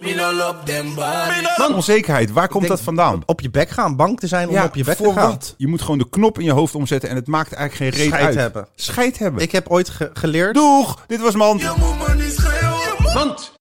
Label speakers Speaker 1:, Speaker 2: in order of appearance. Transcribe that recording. Speaker 1: all up them bodies.
Speaker 2: Maar onzekerheid, waar komt
Speaker 3: denk-
Speaker 2: dat vandaan?
Speaker 3: Op je bek gaan, bang te zijn om op je bek
Speaker 2: voor
Speaker 3: te gaan.
Speaker 2: wat? Je moet gewoon de knop in je hoofd omzetten en het maakt eigenlijk geen reet
Speaker 3: Scheid
Speaker 2: uit.
Speaker 3: hebben.
Speaker 2: Scheid hebben.
Speaker 3: Ik heb ooit ge- geleerd...
Speaker 2: Doeg, dit was man.
Speaker 1: Je moet maar niet schreeuwen.